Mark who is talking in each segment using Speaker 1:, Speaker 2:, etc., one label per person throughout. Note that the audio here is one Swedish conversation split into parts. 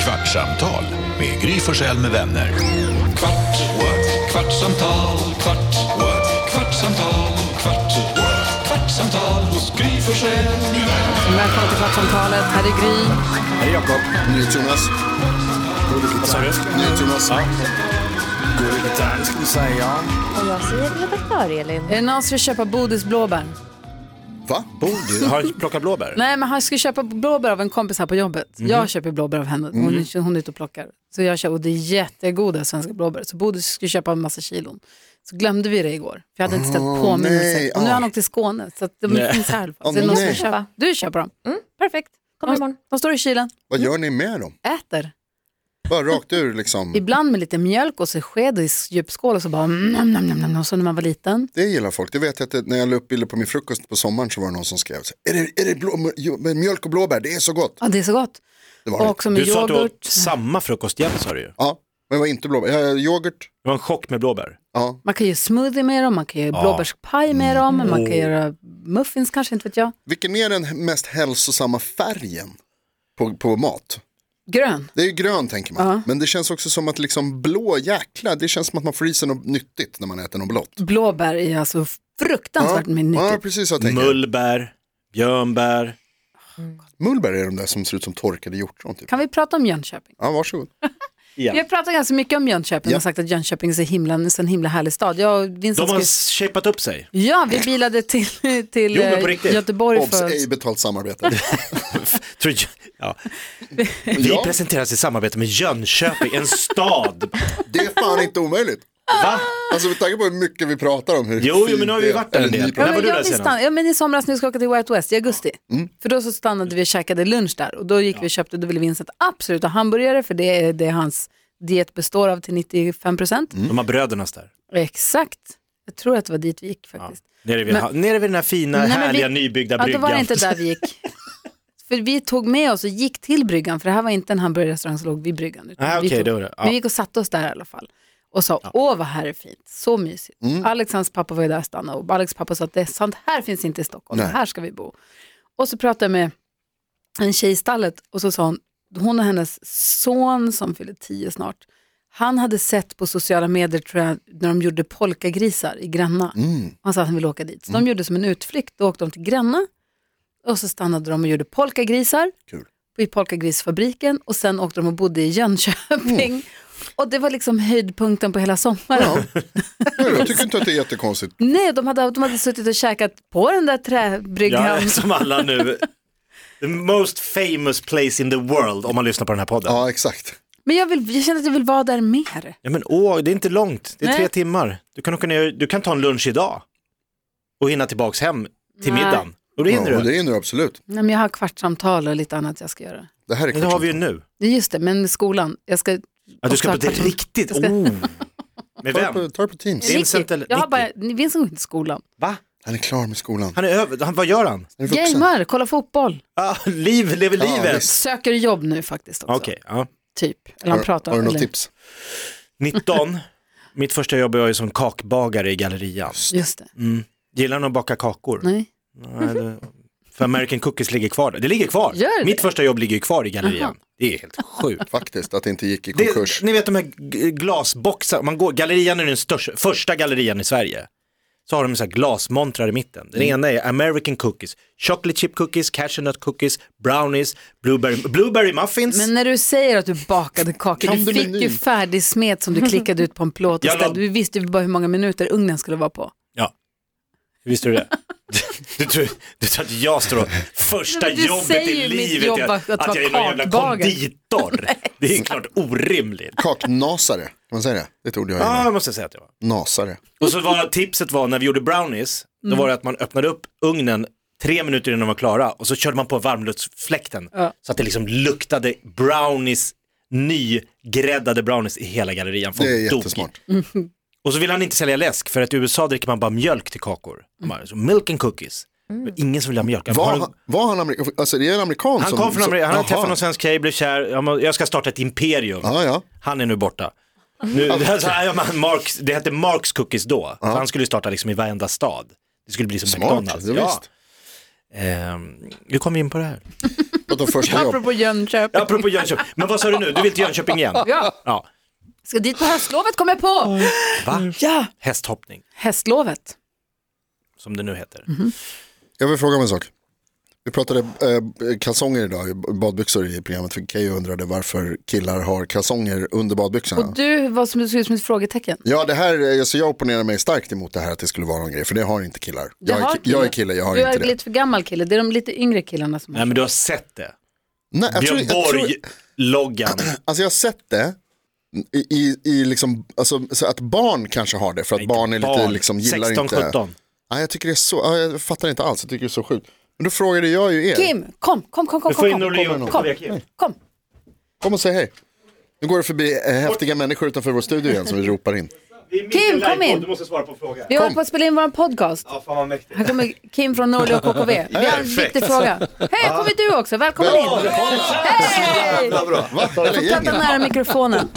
Speaker 1: Kvartsamtal med Gry Forssell med vänner. Kvart, what? kvartsamtal, kvart, what? kvartsamtal, kvart, what? kvartsamtal hos Gry Forssell med vänner.
Speaker 2: Välkommen till Kvartsamtalet. Här är Gry.
Speaker 3: Hej Jakob.
Speaker 4: NyhetsJonas.
Speaker 3: Vad sa du?
Speaker 4: NyhetsJonas. Ja.
Speaker 3: Går det gitarr ska vi säga.
Speaker 5: Och jag säger redaktör Elin.
Speaker 2: Är det någon som vill köpa Bodis blåbär?
Speaker 4: Va?
Speaker 3: Bodil, har du plockat blåbär?
Speaker 2: Nej, men han ska köpa blåbär av en kompis här på jobbet.
Speaker 3: Mhm.
Speaker 2: Jag köper blåbär av henne. Hon, hon är ute och plockar. Så jag köper, och det är jättegoda svenska blåbär. Så Bodis skulle köpa en massa kilon. Så glömde vi det igår, för jag hade inte ställt påminnelse.
Speaker 4: nej,
Speaker 2: Och nu har
Speaker 4: ah.
Speaker 2: han åkt till Skåne, så att de
Speaker 3: Nej.
Speaker 2: finns här i alla fall.
Speaker 4: Åh,
Speaker 2: Så det är någon som
Speaker 4: nej.
Speaker 2: vill köpa. Du köper dem.
Speaker 5: Perfekt. Kom imorgon.
Speaker 2: De står i kylen,
Speaker 4: Vad gör ni med dem?
Speaker 2: äter.
Speaker 4: Bara rakt ur liksom.
Speaker 2: Ibland med lite mjölk och så sked i djupskål och så bara mm, nam, nam, nam, nam, som när man var liten.
Speaker 4: Det gillar folk. Det vet jag att det- när jag la upp bilder på min frukost på sommaren så var det någon som skrev så här, är det, är det blå, jo, men mjölk och blåbär, det är så gott.
Speaker 2: Ja, det är så gott.
Speaker 4: Det var
Speaker 2: Och
Speaker 4: det.
Speaker 2: också med
Speaker 3: Du sa att du åt
Speaker 2: yoghurt.
Speaker 3: samma frukost jämt sa du ju.
Speaker 4: Ja, men det var inte blåbär. Jag- Yoghurt,
Speaker 3: Det var en chock med blåbär.
Speaker 4: ja.
Speaker 2: Man kan göra smoothie med dem, man kan göra blåbärspaj med
Speaker 3: Mm.
Speaker 2: dem, man kan göra muffins kanske, inte vet jag.
Speaker 4: Vilken är den mest hälsosamma färgen på, på mat?
Speaker 2: Grön.
Speaker 4: Det är ju grön tänker man. Men det känns också som att liksom blå jäkla, det känns som att man får i sig något nyttigt när man äter något blått.
Speaker 2: Blåbär är alltså fruktansvärt med
Speaker 4: ja,
Speaker 2: nyttigt.
Speaker 4: precis så jag tänker.
Speaker 3: Mullbär, björnbär.
Speaker 4: Mullbär är de där som ser ut som torkade hjortron. Typ.
Speaker 2: Kan vi prata om Jönköping?
Speaker 4: Ja, varsågod.
Speaker 2: Vi har pratat ganska mycket om Jönköping
Speaker 4: Ja.
Speaker 2: och sagt att Jönköping är så himla, en sån himla härlig stad. Jag och Vincent
Speaker 3: De har
Speaker 2: skulle...
Speaker 3: shapat upp sig.
Speaker 2: Ja, vi bilade till, till
Speaker 3: Jo, men på
Speaker 2: eh,
Speaker 3: riktigt.
Speaker 2: Göteborg
Speaker 4: Obs,
Speaker 2: för...
Speaker 4: ej betalt samarbete.
Speaker 3: Tror jag- Ja. Vi
Speaker 4: Ja.
Speaker 3: presenteras i samarbete med Jönköping, en stad.
Speaker 4: Det är fan inte omöjligt.
Speaker 3: Va?
Speaker 4: Alltså med tanke på hur mycket vi pratar om hur
Speaker 3: Jo, jo,
Speaker 4: fint
Speaker 3: men nu har vi
Speaker 4: det är.
Speaker 3: varit där en
Speaker 4: Eller
Speaker 3: del.
Speaker 4: ni-
Speaker 2: Ja,
Speaker 3: När var
Speaker 2: men
Speaker 3: du
Speaker 2: jag
Speaker 3: där Mm.
Speaker 2: vill
Speaker 3: senast?
Speaker 2: stanna, ja, men I somras när vi ska åka till White West i augusti. För då så stannade vi och käkade lunch där och då gick vi och köpte, då ville Vincent absolut ha hamburgare för det är det hans diet består av till 95 procent.
Speaker 3: De har brödernas där.
Speaker 2: Exakt, jag tror att det var dit vi gick faktiskt.
Speaker 3: Nere vid, ha- nere vid den här fina,
Speaker 2: Nej, men
Speaker 3: härliga,
Speaker 2: vi-
Speaker 3: nybyggda
Speaker 2: Ja, då
Speaker 3: bryggan.
Speaker 2: var det inte där vi gick. För vi tog med oss och gick till bryggan, för det här var inte en hamburgerrestaurang som låg vid bryggan. utan
Speaker 3: Ah,
Speaker 2: vi,
Speaker 3: okej,
Speaker 2: tog,
Speaker 3: det var det. Ja.
Speaker 2: vi gick och satte oss där i alla fall och sa, åh vad här är fint, så mysigt.
Speaker 3: Mm.
Speaker 2: Alex hans pappa var ju där och stannade och Alex pappa sa att det är sant här finns inte i Stockholm,
Speaker 4: Nej.
Speaker 2: här ska vi bo. Och så pratade jag med en tjej i stallet och så sa hon, hon och hennes son som fyller tio snart, han hade sett på sociala medier tror jag, när de gjorde polkagrisar i Gränna.
Speaker 3: Mm.
Speaker 2: Han sa att han ville åka dit. Så de gjorde som en utflykt, då åkte de till Gränna och så stannade de och gjorde polkagrisar
Speaker 4: Kul.
Speaker 2: i polkagrisfabriken och sen åkte de och bodde i Jönköping.
Speaker 3: Oh.
Speaker 2: Och det var liksom höjdpunkten på hela sommaren.
Speaker 4: Nej, Jag tycker inte att det är jättekonstigt.
Speaker 2: Nej, de hade, de hade suttit och käkat på den där träbryggan.
Speaker 3: Ja, som alla nu. The most famous place in the world om man lyssnar på den här podden. Ja.
Speaker 4: Ja, exakt.
Speaker 2: Men jag, vill, jag känner att jag vill vara där mer.
Speaker 3: men åh, det är inte långt, det är
Speaker 2: Nej.
Speaker 3: tre timmar. Du kan, åka ner, du kan ta en lunch idag och hinna tillbaks hem till
Speaker 2: Nej.
Speaker 3: middagen. Och det
Speaker 4: Ja,
Speaker 3: hinner
Speaker 4: och
Speaker 3: du.
Speaker 4: det är nu absolut.
Speaker 2: Nej, men jag har kvartssamtal och lite annat jag ska göra.
Speaker 4: Det här är
Speaker 3: Men det har
Speaker 4: klart.
Speaker 3: vi ju nu.
Speaker 2: Det är Just det, men skolan. Jag ska...
Speaker 3: Ja, du ska på
Speaker 2: också ha
Speaker 3: det
Speaker 2: kvartsam-
Speaker 3: riktigt,
Speaker 2: Jag ska-
Speaker 3: oh. Med
Speaker 4: Ta det på,
Speaker 3: vem?
Speaker 4: ta det på Teams.
Speaker 3: Din- Vincent
Speaker 2: Nicky.
Speaker 3: eller
Speaker 2: Jag har
Speaker 3: Nicky?
Speaker 2: bara, Vincent går inte i skolan.
Speaker 3: Va?
Speaker 4: Han är klar med skolan.
Speaker 3: Han är över, han, vad gör han?
Speaker 4: Han är vuxen.
Speaker 2: Gamer, kollar fotboll.
Speaker 3: Ah, liv, lever
Speaker 4: Ja,
Speaker 3: livet.
Speaker 4: visst.
Speaker 2: Söker jobb nu faktiskt också.
Speaker 3: Okej, ja.
Speaker 2: Typ. Eller han
Speaker 4: Har,
Speaker 2: pratar.
Speaker 4: har du något
Speaker 2: eller-
Speaker 4: tips?
Speaker 3: 19. Mitt första jobb var ju som kakbagare i gallerian.
Speaker 2: Just det.
Speaker 3: Mm. Gillar han att baka kakor?
Speaker 2: Nej.
Speaker 3: Nej, det... För American Cookies ligger kvar där. Det ligger kvar.
Speaker 2: Gör det?
Speaker 3: Mitt första jobb ligger ju kvar i gallerian. Det är helt sjukt.
Speaker 4: Faktiskt, att det inte gick i konkurs.
Speaker 3: Det, ni vet de här g- glasboxar, man går, gallerian är den största, första gallerian i Sverige. Så har de så här glasmontrar i mitten.
Speaker 2: Mm.
Speaker 3: Den ena är American Cookies, Chocolate Chip Cookies, Cashewnut Cookies, Brownies, Blueberry, blueberry Muffins.
Speaker 2: Men när du säger att du bakade kakor,
Speaker 4: Kan
Speaker 2: du
Speaker 4: du
Speaker 2: fick
Speaker 4: menyn?
Speaker 2: ju färdig smet som du klickade ut på en plåt och
Speaker 3: Jag la-
Speaker 2: ställde. Du visste ju bara hur många minuter ugnen skulle vara på.
Speaker 3: Ja, visste du det? Du tror, du tror att jag står och- första
Speaker 2: Nej, men du
Speaker 3: jobbet
Speaker 2: säger
Speaker 3: i
Speaker 2: ju mitt
Speaker 3: livet
Speaker 2: jobb
Speaker 3: är att,
Speaker 2: att- att
Speaker 3: att jag
Speaker 2: vara
Speaker 3: är någon jävla
Speaker 2: kakbagare.
Speaker 3: konditor. Det är ju klart orimligt.
Speaker 4: Kaknasare, kan man säga det? Det är ett ord jag
Speaker 3: Ja,
Speaker 4: gillar.
Speaker 3: det måste jag säga att jag var.
Speaker 4: Nasare.
Speaker 3: Och så var tipset var när vi gjorde brownies, då var det att man öppnade upp ugnen tre minuter innan de var klara och så körde man på varmluftsfläkten
Speaker 2: Ja.
Speaker 3: så att det liksom luktade brownies, nygräddade brownies i hela gallerian. Folk
Speaker 4: Det är
Speaker 3: dog.
Speaker 4: jättesmart.
Speaker 3: Och så vill han inte sälja läsk för att i USA dricker man bara mjölk till kakor. Mm. Bara, så milk and cookies. Men Ingen som vill ha mjölk.
Speaker 4: Var
Speaker 3: Mm. Har
Speaker 4: han, var han amerikan? Alltså det är en amerikan
Speaker 3: han
Speaker 4: som...
Speaker 3: kom från
Speaker 4: som-
Speaker 3: Amerika, han har
Speaker 4: Jaha.
Speaker 3: träffat någon svensk tjej, blev kär, Ja, men jag ska starta ett imperium.
Speaker 4: Ja, ja.
Speaker 3: Han är nu borta. Nu, alltså, ja, men Marks, det hette Marks Cookies då, så han skulle starta liksom i varenda stad. Det skulle bli som
Speaker 4: Smart,
Speaker 3: McDonalds.
Speaker 4: det
Speaker 3: ja.
Speaker 4: visst.
Speaker 3: Ehm, hur kom vi in på det här?
Speaker 4: Vadå första jobb?
Speaker 2: Apropå Jönköping.
Speaker 3: Apropå Jönköping, men vad sa du nu? Du vill till Jönköping igen?
Speaker 2: Ja.
Speaker 3: Ja.
Speaker 2: Ska dit på höstlovet kom jag på.
Speaker 4: Mm.
Speaker 3: Va?
Speaker 2: Ja.
Speaker 3: Hästhoppning,
Speaker 2: Hästlovet.
Speaker 3: som det nu heter.
Speaker 4: Mhm. Jag vill fråga om en sak. Vi pratade eh, kalsonger idag, badbyxor i programmet. För Keyyo undrade varför killar har kalsonger under badbyxorna.
Speaker 2: Och du var som, såg ut som ett frågetecken.
Speaker 4: Ja, det här, eh, så jag opponerar mig starkt emot det här att det skulle vara någon grej, för det har inte killar.
Speaker 2: Du
Speaker 4: Jag är, ki- jag är kille, jag har
Speaker 2: du
Speaker 4: inte
Speaker 2: är
Speaker 4: det.
Speaker 2: lite för gammal kille. Det är de lite yngre killarna som har.
Speaker 3: Nej men du har sett det.
Speaker 4: Nej, jag, tror,
Speaker 3: Björn
Speaker 4: jag, tror,
Speaker 3: Borg-loggan.
Speaker 4: alltså jag har sett det i, i, i liksom, alltså, så att barn kanske har det, för att barn är lite,
Speaker 3: Barn.
Speaker 4: liksom, gillar
Speaker 3: 16,
Speaker 4: inte.
Speaker 3: 17.
Speaker 4: Nej, jag tycker det är så, ja, jag fattar inte alls, jag tycker det är så sjukt. Men då frågade jag ju er,
Speaker 2: Kim, kom, kom, kom, kom,
Speaker 3: Du får
Speaker 2: kom,
Speaker 3: in
Speaker 2: kom,
Speaker 3: Norlén
Speaker 2: kom,
Speaker 3: och
Speaker 2: kom,
Speaker 3: Kim.
Speaker 2: kom.
Speaker 4: kom och säg hej. Nu går det förbi eh, häftiga människor utanför vår studio igen som vi ropar in.
Speaker 2: Kim, kom in.
Speaker 6: måste svara på en fråga.
Speaker 2: Vi håller på att spela in vår podcast.
Speaker 6: Ja, fan vad mäktigt.
Speaker 2: Här kommer Kim från Norli och KKV. Vi har en viktig fråga. Hej, här kommer du också. Välkommen in. Hej!
Speaker 4: Va? Hela
Speaker 2: Prata
Speaker 4: gänget.
Speaker 2: nära mikrofonen.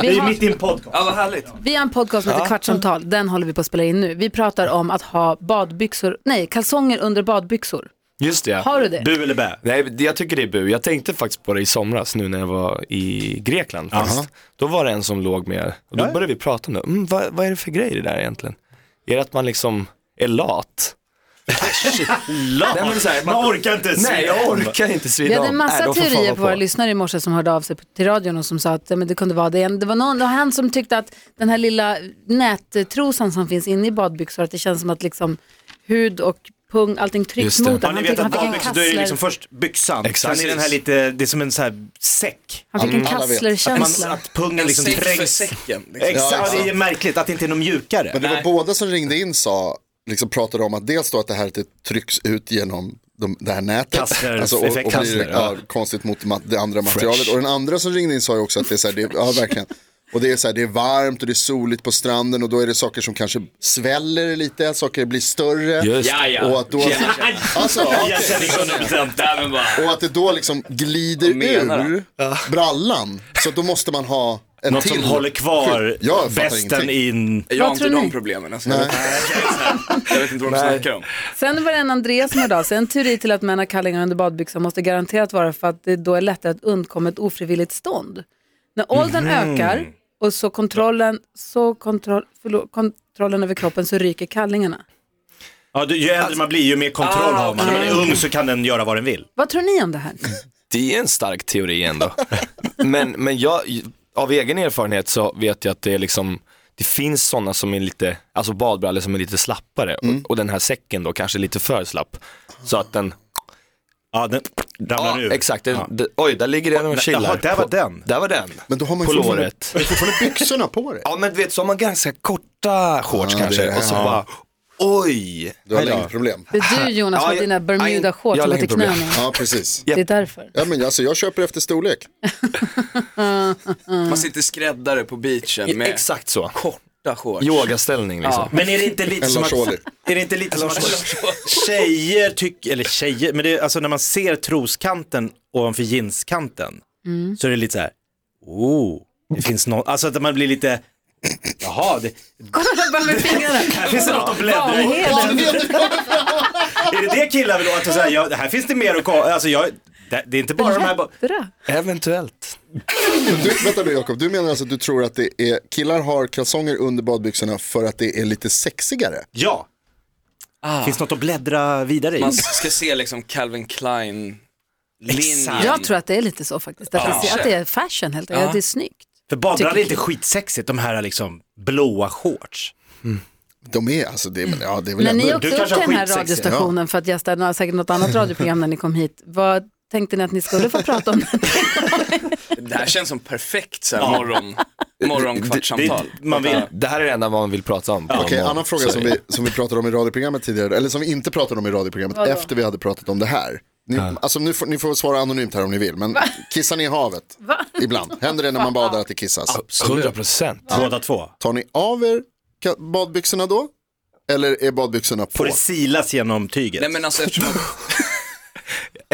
Speaker 2: Vi har,
Speaker 3: i en podcast.
Speaker 6: Ja, vad härligt.
Speaker 2: vi har en podcast som heter Kvartsamtal. Den håller vi på att spela in nu. Vi pratar om att ha badbyxor, nej, kalsonger under badbyxor.
Speaker 6: Just det.
Speaker 2: Har du det?
Speaker 3: Bu eller bä?
Speaker 6: Nej, det- jag tycker det är bu. Jag tänkte faktiskt på det i somras nu när jag var i Grekland. Fast. Då var det en som låg med, och då började vi prata om det. Mm, vad, vad är det för grej det där egentligen? Är det att man liksom är lat?
Speaker 3: Lat.
Speaker 6: Nej, men så här, man-
Speaker 3: man orkar inte se.
Speaker 6: Nej, jag orkar inte svida
Speaker 2: Vi hade en
Speaker 6: om.
Speaker 2: massa
Speaker 6: Nej, de får fan
Speaker 2: teorier
Speaker 6: vara
Speaker 2: på våra lyssnare i morse som hörde av sig på- till radion och som sa att ja, men det kunde vara det. Det var någon, det var han som tyckte att den här lilla nättrosan som finns inne i badbyxor, att det känns som att liksom hud och pung, allting trycks
Speaker 6: Just det.
Speaker 2: mot
Speaker 3: Ja, ni
Speaker 2: den. Han,
Speaker 3: vet att
Speaker 2: tyckte, han fick en
Speaker 3: badbyxor, då är det liksom
Speaker 2: kassler,
Speaker 3: först byxan,
Speaker 6: Exakt.
Speaker 3: sen är den här lite, det är som en så här säck.
Speaker 2: han
Speaker 6: Mm.
Speaker 2: fick en
Speaker 4: Alla vet.
Speaker 3: Att, man,
Speaker 2: kasslerkänsla.
Speaker 3: att pungen liksom
Speaker 7: safe för
Speaker 3: trängs.
Speaker 7: säcken, liksom.
Speaker 3: Exakt,
Speaker 4: Ja,
Speaker 3: ja, det är märkligt att det inte är någon mjukare.
Speaker 4: Men det var båda som ringde in sa, liksom pratade om att dels då att det här det trycks ut genom de, det här nätet. Alltså,
Speaker 3: Kastler-
Speaker 4: och, och
Speaker 3: effekt.
Speaker 4: blir
Speaker 6: Kastler,
Speaker 4: ja,
Speaker 6: ja.
Speaker 4: konstigt mot ma- det andra materialet. Och den andra som ringde in sa ju också att det är så här, det, ja verkligen. Och det är så här, det är varmt och det är soligt på stranden och då är det saker som kanske sväller lite, saker blir större.
Speaker 6: Just det.
Speaker 7: Ja, ja.
Speaker 4: Och att då, alltså, okej.
Speaker 3: Jag känner 100%.
Speaker 7: Nej, men bara.
Speaker 4: och att det då liksom glider
Speaker 7: menar
Speaker 4: ur brallan. Så då måste man ha en
Speaker 3: Något
Speaker 4: till.
Speaker 3: som håller kvar
Speaker 4: Jag fattar
Speaker 3: västen in.
Speaker 7: Jag har
Speaker 2: Vad
Speaker 7: inte
Speaker 2: tror ni?
Speaker 7: de problemen. Alltså. Jag, vet, inte- jag vet inte vad de snackar om.
Speaker 2: Sen var det en Andreas som hörde av sig. En teori till att män har kallingar under badbyxor måste garanterat vara för att det då är lättare att undkomma ett ofrivilligt stånd. När åldern
Speaker 7: Mhm.
Speaker 2: ökar och så kontrollen, så kontroll, förlåt, kontrollen över kroppen så ryker kallingarna.
Speaker 3: Ja, du, ju äldre man blir ju mer kontroll har man. När man är ung så kan den göra vad den vill.
Speaker 2: Vad tror ni om det här?
Speaker 6: Det är en stark teori ändå. men men jag, av egen erfarenhet så vet jag att det är liksom, det finns sådana som är lite, alltså badbrallor som är lite slappare
Speaker 4: Mm.
Speaker 6: och, och den här säcken då kanske är lite för slapp. Så att den,
Speaker 3: Ja, den ramlar
Speaker 6: ja
Speaker 3: ur.
Speaker 6: exakt, den, d- oj där ligger den och chillar.
Speaker 3: jaha, där var
Speaker 6: på-
Speaker 3: den.
Speaker 6: Där var den.
Speaker 4: Men då har man ju
Speaker 6: på
Speaker 4: fortfarande-
Speaker 6: låret.
Speaker 4: Du har fortfarande byxorna på dig.
Speaker 6: Ja men du vet så har man ganska korta shorts
Speaker 4: Ja, det är det
Speaker 6: kanske
Speaker 4: här.
Speaker 6: och så
Speaker 4: Ja.
Speaker 6: bara, oj.
Speaker 4: Du har längre problem.
Speaker 2: Det är du Jonas
Speaker 6: Ja,
Speaker 2: med
Speaker 6: jag-
Speaker 2: dina Bermuda-shorts som
Speaker 6: jag har
Speaker 2: går till
Speaker 6: inget problem.
Speaker 2: knäna.
Speaker 4: Ja, precis.
Speaker 2: Det är därför.
Speaker 4: Ja, men alltså, jag köper efter storlek.
Speaker 7: Man sitter skräddare på beachen med
Speaker 6: Exakt så.
Speaker 7: korta shorts.
Speaker 6: Yogaställning liksom.
Speaker 3: Men är det inte lite
Speaker 4: Eller
Speaker 3: som
Speaker 4: Lars
Speaker 3: att,
Speaker 4: Ohly.
Speaker 3: är det inte lite som att tjejer tycker, eller tjejer, men det är alltså när man ser troskanten ovanför jeanskanten så är det lite så här, oh, det finns något, alltså att man blir lite, jaha, det,
Speaker 2: Kolla bara med fingrarna.
Speaker 3: här finns det något att bläddra i. Är det det killar vill ha? Att säga, ja, här finns det mer att kolla, alltså jag, det, det är inte bara de här, ba-
Speaker 2: Jädra.
Speaker 6: Eventuellt.
Speaker 4: Du, vänta nu Jakob, du menar alltså att du tror att det är, killar har kalsonger under badbyxorna för att det är lite sexigare?
Speaker 3: ja, finns något att bläddra vidare i.
Speaker 7: Man ska se liksom Calvin Klein linjen.
Speaker 3: Exakt.
Speaker 2: Jag tror att det är lite så faktiskt. Därför att, det, att det är fashion helt enkelt. Ja. Det är snyggt.
Speaker 3: För badbrallor är
Speaker 2: tycker-
Speaker 3: inte skitsexigt, de här liksom blåa shorts.
Speaker 4: De är alltså, det är, väl- ja, det är väl
Speaker 2: När
Speaker 4: ändå...
Speaker 2: ni åkte
Speaker 3: kanske
Speaker 2: upp till
Speaker 3: har
Speaker 2: den här
Speaker 3: skitsexig,
Speaker 2: radiostationen för att gästa säkert något annat radioprogram när ni kom hit. Vad tänkte ni att ni skulle få prata om?
Speaker 7: Det här känns som perfekt så här, morgon, morgonkvartssamtal.
Speaker 3: Det- det- man vill-
Speaker 6: Det här är det enda man vill prata om. på
Speaker 4: Okej,
Speaker 6: morgon.
Speaker 4: annan fråga
Speaker 6: Så-
Speaker 4: som vi, som vi pratade om i radioprogrammet tidigare, eller som vi inte pratade om i radioprogrammet
Speaker 2: Vadå?
Speaker 4: efter vi hade pratat om det här. Ni, alltså, ni, får, ni får svara anonymt här om ni vill, men kissar ni i havet? Ibland. Händer det när man badar att det kissas?
Speaker 7: 100 procent.
Speaker 3: Båda två.
Speaker 4: Tar ni av er ka- badbyxorna då? Eller är badbyxorna på?
Speaker 3: Får det silas genom tyget?
Speaker 7: Nej men alltså eftersom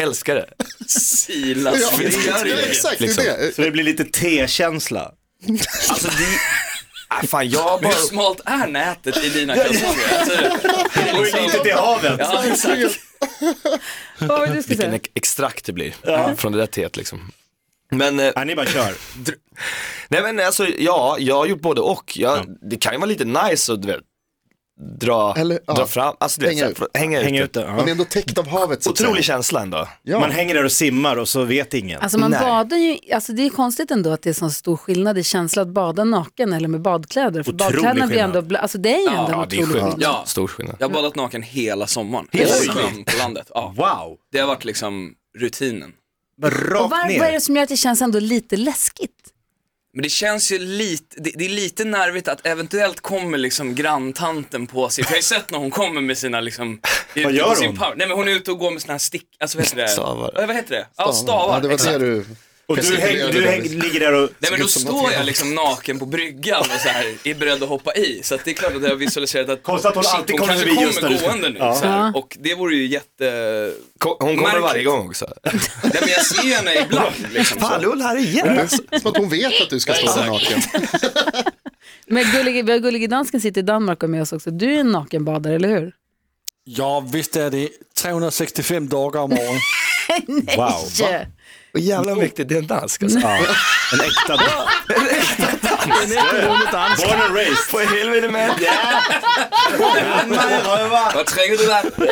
Speaker 6: Älskar det.
Speaker 7: Silas
Speaker 4: Ja,
Speaker 7: det typ. gör ju
Speaker 4: ja,
Speaker 7: det.
Speaker 4: exakt, det är det.
Speaker 3: Så det blir lite T-känsla.
Speaker 6: Alltså det... Ah, fan jag har bara...
Speaker 7: Hur smalt är nätet i dina kalsonger? Alltså, det är
Speaker 3: Går det
Speaker 7: liksom-
Speaker 3: lite till havet?
Speaker 7: Ja, exakt.
Speaker 2: Vad var det du skulle
Speaker 6: vilken
Speaker 2: säga?
Speaker 6: ex- extrakt det blir från det där teet liksom. Men, eh,
Speaker 3: Nej, ni bara kör.
Speaker 6: nej men alltså ja, jag har gjort både och. Jag, Det kan ju vara lite nice att du vet, dra,
Speaker 4: Eller, ja.
Speaker 6: dra fram, alltså du vet,
Speaker 4: Hänga
Speaker 6: hänga,
Speaker 4: ut.
Speaker 6: ut. hänga,
Speaker 3: Häng ut
Speaker 6: ut det.
Speaker 3: det. Ja.
Speaker 4: Man är ändå täckt av havet så att
Speaker 6: Otrolig
Speaker 4: säga.
Speaker 6: känsla ändå.
Speaker 4: Ja.
Speaker 3: Man hänger där och simmar och så vet ingen.
Speaker 2: Alltså man
Speaker 6: Nej.
Speaker 2: badar ju, alltså det är konstigt ändå att det är sån stor skillnad i känsla att bada naken eller med badkläder. För
Speaker 3: Otrolig
Speaker 2: badkläderna blir ändå,
Speaker 3: skillnad.
Speaker 2: bla- alltså det är ju ändå en
Speaker 6: Ja, det är
Speaker 2: otrolig skillnad.
Speaker 6: skillnad.
Speaker 7: Ja.
Speaker 6: Stor skillnad.
Speaker 7: Jag har badat naken hela sommaren.
Speaker 3: Hela
Speaker 7: I
Speaker 3: sommaren?
Speaker 7: sjön på landet. Ja.
Speaker 3: Wow,
Speaker 7: Det har varit liksom rutinen.
Speaker 3: bara
Speaker 2: Alltså- Och
Speaker 3: rakt
Speaker 2: var,
Speaker 3: ner.
Speaker 2: vad är det som gör att det känns ändå lite läskigt?
Speaker 7: Men det känns ju lite, det, det är lite nervigt att eventuellt kommer liksom granntanten på sig. För jag har ju sett när hon kommer med sina liksom, ute
Speaker 3: gör
Speaker 7: på sin
Speaker 3: hon?
Speaker 7: pub. Nej men hon är ute och går med såna här stick, alltså vad heter det?
Speaker 6: Stavar.
Speaker 7: Ja, Vad heter det? Ja, stavar.
Speaker 4: Ja, det var det
Speaker 7: exakt.
Speaker 4: du...
Speaker 3: Och du, häng, du häng, ligger där och...
Speaker 7: Nej men då
Speaker 4: Såg ut som
Speaker 7: står
Speaker 4: något.
Speaker 7: jag liksom naken på bryggan och så här är beredd att hoppa i. Så att det är klart att jag har visualiserat att
Speaker 3: Konstigt att hon
Speaker 7: shit,
Speaker 3: alltid kommer
Speaker 7: kanske
Speaker 3: förbi just när
Speaker 7: kommer
Speaker 3: du ska-
Speaker 7: gående nu.
Speaker 3: Ja.
Speaker 7: Så här. Och det vore ju jätte...
Speaker 6: Ko- Hon kommer
Speaker 7: Märkligt.
Speaker 6: varje gång också.
Speaker 7: Nej men jag ser henne ibland liksom. Så.
Speaker 6: Lull här igen.
Speaker 4: Som att hon vet att du ska stå där naken.
Speaker 2: Men gullige, vi har gullige dansken sitter i Danmark och med oss också. Du är en nakenbadare, eller hur?
Speaker 8: Ja, visst är det 365 dagar om året.
Speaker 3: Wow,
Speaker 2: Ja.
Speaker 6: Och jävla mäktigt, det är en dansk alltså.
Speaker 3: en äkta dag. Born and raised.
Speaker 6: På helvete man.
Speaker 7: Vad tränger du där?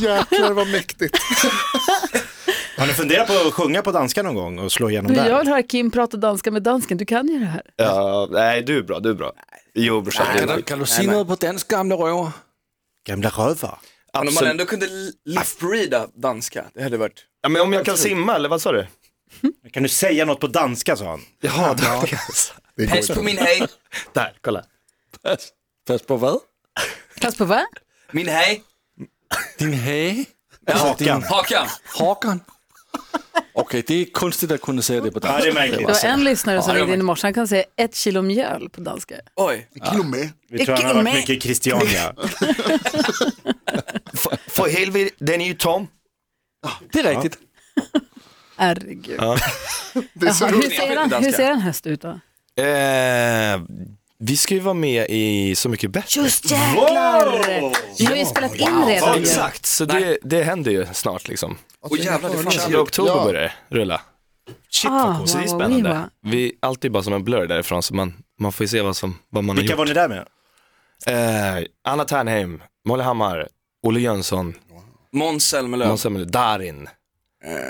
Speaker 4: Jäklar vad mäktigt.
Speaker 3: Har ni funderat på att sjunga på danska någon gång och slå igenom
Speaker 2: Du, jag
Speaker 3: där?
Speaker 2: vill höra Kim prata danska med dansken, du kan ju det här.
Speaker 6: Ja, nej du är bra, du är bra. Jo brorsan, du är
Speaker 8: Kan
Speaker 6: bra.
Speaker 8: du, kan du säga något på danska, gamla röver?
Speaker 3: Gamla rövar.
Speaker 7: Men om man
Speaker 6: Absolut.
Speaker 7: ändå kunde lip-reada danska, det hade varit...
Speaker 6: Ja, men om jag kan simma eller vad sa du?
Speaker 3: Kan du säga något på danska sa han.
Speaker 6: Jaha, där. Alltså.
Speaker 4: Det går
Speaker 7: Pass på
Speaker 4: inte.
Speaker 7: min hej,
Speaker 6: Där, kolla.
Speaker 8: Fast på vad?
Speaker 2: Fast på vad?
Speaker 7: min hej,
Speaker 8: Din hage?
Speaker 3: Hakan.
Speaker 7: hakan.
Speaker 8: Hakan? Okej, det är konstigt att kunna säga det på
Speaker 3: Ja, det
Speaker 8: danska.
Speaker 3: är märkligt.
Speaker 2: Det var en lyssnare som
Speaker 7: Ja, det
Speaker 2: ringde in i
Speaker 7: var-
Speaker 2: morse, han kan säga ett kilo mjöl på danska.
Speaker 7: Oj,
Speaker 4: Kilomé.
Speaker 3: Vi tror han har
Speaker 2: Icke
Speaker 3: varit
Speaker 2: med.
Speaker 3: mycket i Christiania.
Speaker 6: För, för helvete, den är ju tom.
Speaker 8: Det är riktigt.
Speaker 2: Herregud.
Speaker 4: Det är så
Speaker 2: Jaha,
Speaker 4: roligt.
Speaker 2: hur, ser en, hur ser en höst ut då?
Speaker 6: Eh, vi ska ju vara med i Så mycket bättre.
Speaker 2: Just jäklar! Vi har ju spelat in redan ju.
Speaker 6: Exakt, så det, det händer ju snart liksom.
Speaker 7: och jävlar det fanns
Speaker 6: 22
Speaker 7: ju.
Speaker 6: oktober
Speaker 4: Ja.
Speaker 6: börjar det rulla.
Speaker 3: Shit
Speaker 2: Ah,
Speaker 3: vad coolt.
Speaker 6: Så det är
Speaker 2: wow,
Speaker 6: spännande.
Speaker 2: wow.
Speaker 6: Vi, allt är bara som en blur därifrån så man, man får ju se vad, som, vad man
Speaker 3: Vilka
Speaker 6: har
Speaker 3: var
Speaker 6: gjort.
Speaker 3: ni där med?
Speaker 6: Eh, Anna Ternheim, Molly Hammar, Olle Jönsson,
Speaker 7: Måns Zelmerlöw.
Speaker 6: Måns Zelmerlöw, Darin,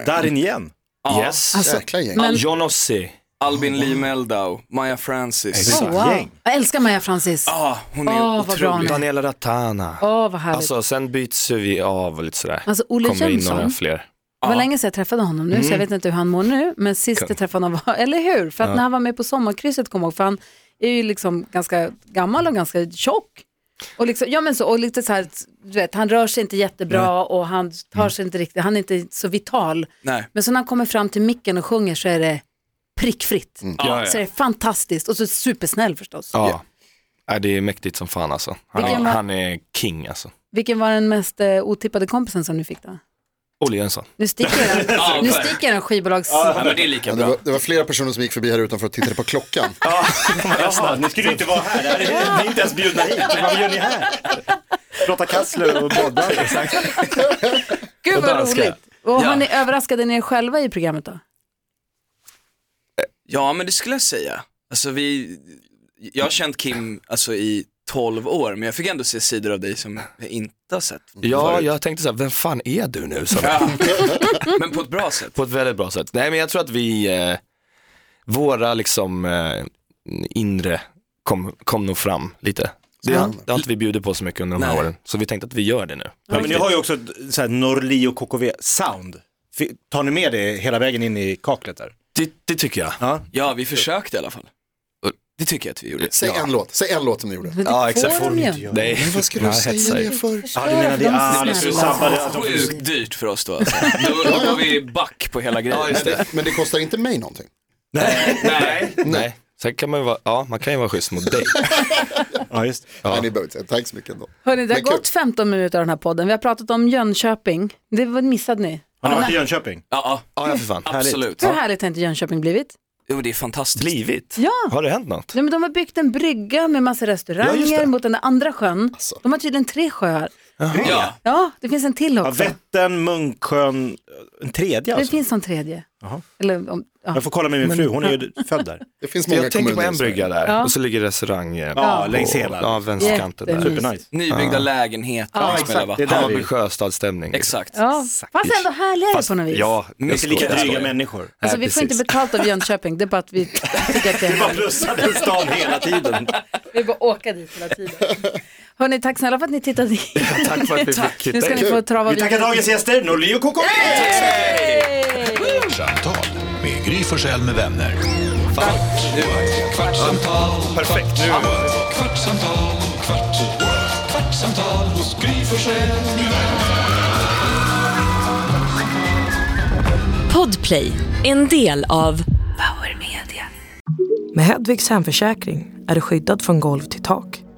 Speaker 3: Darin igen.
Speaker 7: Ja.
Speaker 6: yes,
Speaker 2: Alltså,
Speaker 4: Jäkla gäng.
Speaker 2: men,
Speaker 6: John Ossie,
Speaker 7: Albin Lee Meldau, Maja Francis.
Speaker 2: oh, wow. Jag älskar Maja Francis.
Speaker 7: Ja,
Speaker 2: Åh,
Speaker 7: hon är
Speaker 2: Åh, vad bra hon
Speaker 7: otrolig.
Speaker 2: är.
Speaker 6: Daniela Rattana.
Speaker 2: vad härligt.
Speaker 6: Alltså sen byts vi av och lite sådär.
Speaker 2: Alltså, Olle
Speaker 6: Kommer in
Speaker 2: Jönsson?
Speaker 6: några fler.
Speaker 2: Det var länge sedan jag träffade honom nu, så
Speaker 7: Mm.
Speaker 2: jag vet inte hur han mår nu. Men sist jag träffade honom var, eller hur? För att när han var med på sommarkrysset kom jag ihåg, för han är ju liksom ganska gammal och ganska tjock. Och, liksom, ja, men så, och lite så här, du vet, han rör sig inte jättebra och han tar sig inte riktigt, han är inte så vital.
Speaker 7: Mm. Nej.
Speaker 2: Men så när han kommer fram till micken och sjunger så är det prickfritt.
Speaker 7: Mm. Ja,
Speaker 2: Så
Speaker 7: ja.
Speaker 2: det är fantastiskt och så supersnäll förstås.
Speaker 6: Ja. Nej, det är mäktigt som fan alltså. Han,
Speaker 2: Vilken
Speaker 6: är,
Speaker 2: var-
Speaker 6: han är king alltså.
Speaker 2: Vilken var den mest eh, otippade kompisen som ni fick då?
Speaker 6: Olle Jönsson.
Speaker 2: Nu sticker den,
Speaker 7: Ja,
Speaker 2: nu
Speaker 7: verkligen.
Speaker 2: sticker den skivbolags...
Speaker 7: Ja, men det är lika
Speaker 4: Ja, det,
Speaker 7: bra.
Speaker 4: var, det var flera personer som gick förbi här utanför och tittade på klockan.
Speaker 3: Jaha, ni skulle ju inte vara här. Det här är- Ni är inte ens bjudna hit. Vad gör ni här? Lotta Kassler och Bodda.
Speaker 2: Gud vad
Speaker 6: danska.
Speaker 2: roligt. Och har
Speaker 7: Ja.
Speaker 2: ni överraskade ni er själva i programmet då?
Speaker 7: Ja, men det skulle jag säga. Alltså vi, jag har känt Kim alltså, i 12 år, men jag fick ändå se sidor av dig som jag inte har sett.
Speaker 6: Ja,
Speaker 7: förut.
Speaker 6: jag tänkte så här, vem fan är du nu? Så,
Speaker 7: ja. Men på ett bra sätt.
Speaker 6: på ett väldigt bra sätt. Nej, men jag tror att vi, eh, våra liksom eh, inre kom, kom nog fram lite. Det, det har inte vi bjudit på så mycket under de här
Speaker 7: Nej.
Speaker 6: åren, så vi tänkte att vi gör det nu.
Speaker 3: Ja, men ni har ju också ett så här Norli och KKV-sound. Tar ni med det hela vägen in i kaklet där?
Speaker 6: Det, det tycker jag.
Speaker 7: Ja, vi försökte i alla fall. Och Det tycker jag att vi gjorde.
Speaker 4: Säg en låt, säg en låt som ni gjorde.
Speaker 2: Men det
Speaker 6: Ja, exakt.
Speaker 2: får de ju.
Speaker 6: Nej,
Speaker 4: Mm. Men vad ska du
Speaker 6: jag
Speaker 4: säga
Speaker 6: hetsar ju.
Speaker 4: det för?
Speaker 3: Ja, du menar det är
Speaker 2: de
Speaker 3: Alice
Speaker 2: snälla.
Speaker 3: du sabbade. att de-
Speaker 7: Sjukt dyrt för oss då alltså. Då, då går vi back på hela grejen.
Speaker 6: Ja, just det.
Speaker 4: Men det kostar inte mig någonting.
Speaker 7: Nej.
Speaker 6: Nej. Sen kan man ju vara, ja man kan ju vara schysst mot dig.
Speaker 3: Ja, just.
Speaker 4: Nej, ni behöver inte säga tack så mycket ändå.
Speaker 2: Hörrni, det har
Speaker 4: Men kul.
Speaker 2: gått 15 minuter av den här podden. Vi har pratat om Jönköping. Det var- missade ni.
Speaker 3: Har ni varit i Jönköping?
Speaker 7: Ja, ja,
Speaker 6: Ja, ja för fan.
Speaker 7: absolut.
Speaker 2: Hur härligt har inte Jönköping blivit?
Speaker 7: Jo, det är fantastiskt.
Speaker 6: Blivit?
Speaker 2: Ja.
Speaker 6: Har det hänt något?
Speaker 2: Nej, men de har byggt en brygga med massa restauranger
Speaker 6: Ja, just det.
Speaker 2: mot den där andra sjön. De har tydligen tre sjöar.
Speaker 7: Ja.
Speaker 2: Ja, det finns en till
Speaker 3: Ja,
Speaker 2: också.
Speaker 3: Vättern, Munksjön, en tredje
Speaker 2: det
Speaker 3: alltså.
Speaker 2: finns en tredje. Eller, om, ja.
Speaker 3: Jag får kolla med min
Speaker 2: Men-
Speaker 3: fru, hon är ju född där.
Speaker 4: Det finns många
Speaker 6: Jag tänker på
Speaker 4: kommuner i
Speaker 6: en
Speaker 4: Sverige.
Speaker 6: brygga där
Speaker 2: Ja.
Speaker 6: och så ligger eh, restaurangen.
Speaker 3: Ja,
Speaker 6: på-
Speaker 3: längs hela.
Speaker 6: Ja, vänsterkanten där.
Speaker 2: Jättemysigt.
Speaker 3: Supernice.
Speaker 7: Nybyggda lägenheter.
Speaker 2: Ja,
Speaker 7: liksom,
Speaker 3: exakt.
Speaker 7: eller
Speaker 3: Det är
Speaker 7: vad?
Speaker 3: där
Speaker 6: Hammarby
Speaker 3: vi...
Speaker 6: sjöstadsstämning. liksom.
Speaker 7: Exakt.
Speaker 2: Ja. Fast ändå härligare på något vis.
Speaker 6: Ja, jag
Speaker 7: Mycket
Speaker 3: Det är
Speaker 6: skojar,
Speaker 3: lika
Speaker 6: jag
Speaker 3: dryga
Speaker 6: skojar.
Speaker 3: människor.
Speaker 2: Alltså,
Speaker 6: Nej,
Speaker 2: vi får inte
Speaker 6: precis.
Speaker 2: betalt av Jönköping, det är bara att vi tycker att det är
Speaker 3: Bara
Speaker 2: härligt.
Speaker 3: plussade stan hela tiden.
Speaker 2: Vi bara åka dit hela tiden. Hörni, tack snälla för att ni tittade in.
Speaker 6: Tack för att vi fick
Speaker 2: Nu
Speaker 6: titta
Speaker 2: ska
Speaker 6: in.
Speaker 2: ni få trava
Speaker 3: Vi tackar dagens gäster, Norli och KK.
Speaker 1: Kvartsamtal med Gry Forssell med vänner. Kvart, what? kvartsamtal, perfekt nu. Kvartsamtal, kvart, what? kvartsamtal hos Gry Forssell med vänner.
Speaker 9: Podplay, en del av Power Media.
Speaker 10: Med Hedvigs hemförsäkring är du skyddad från golv till tak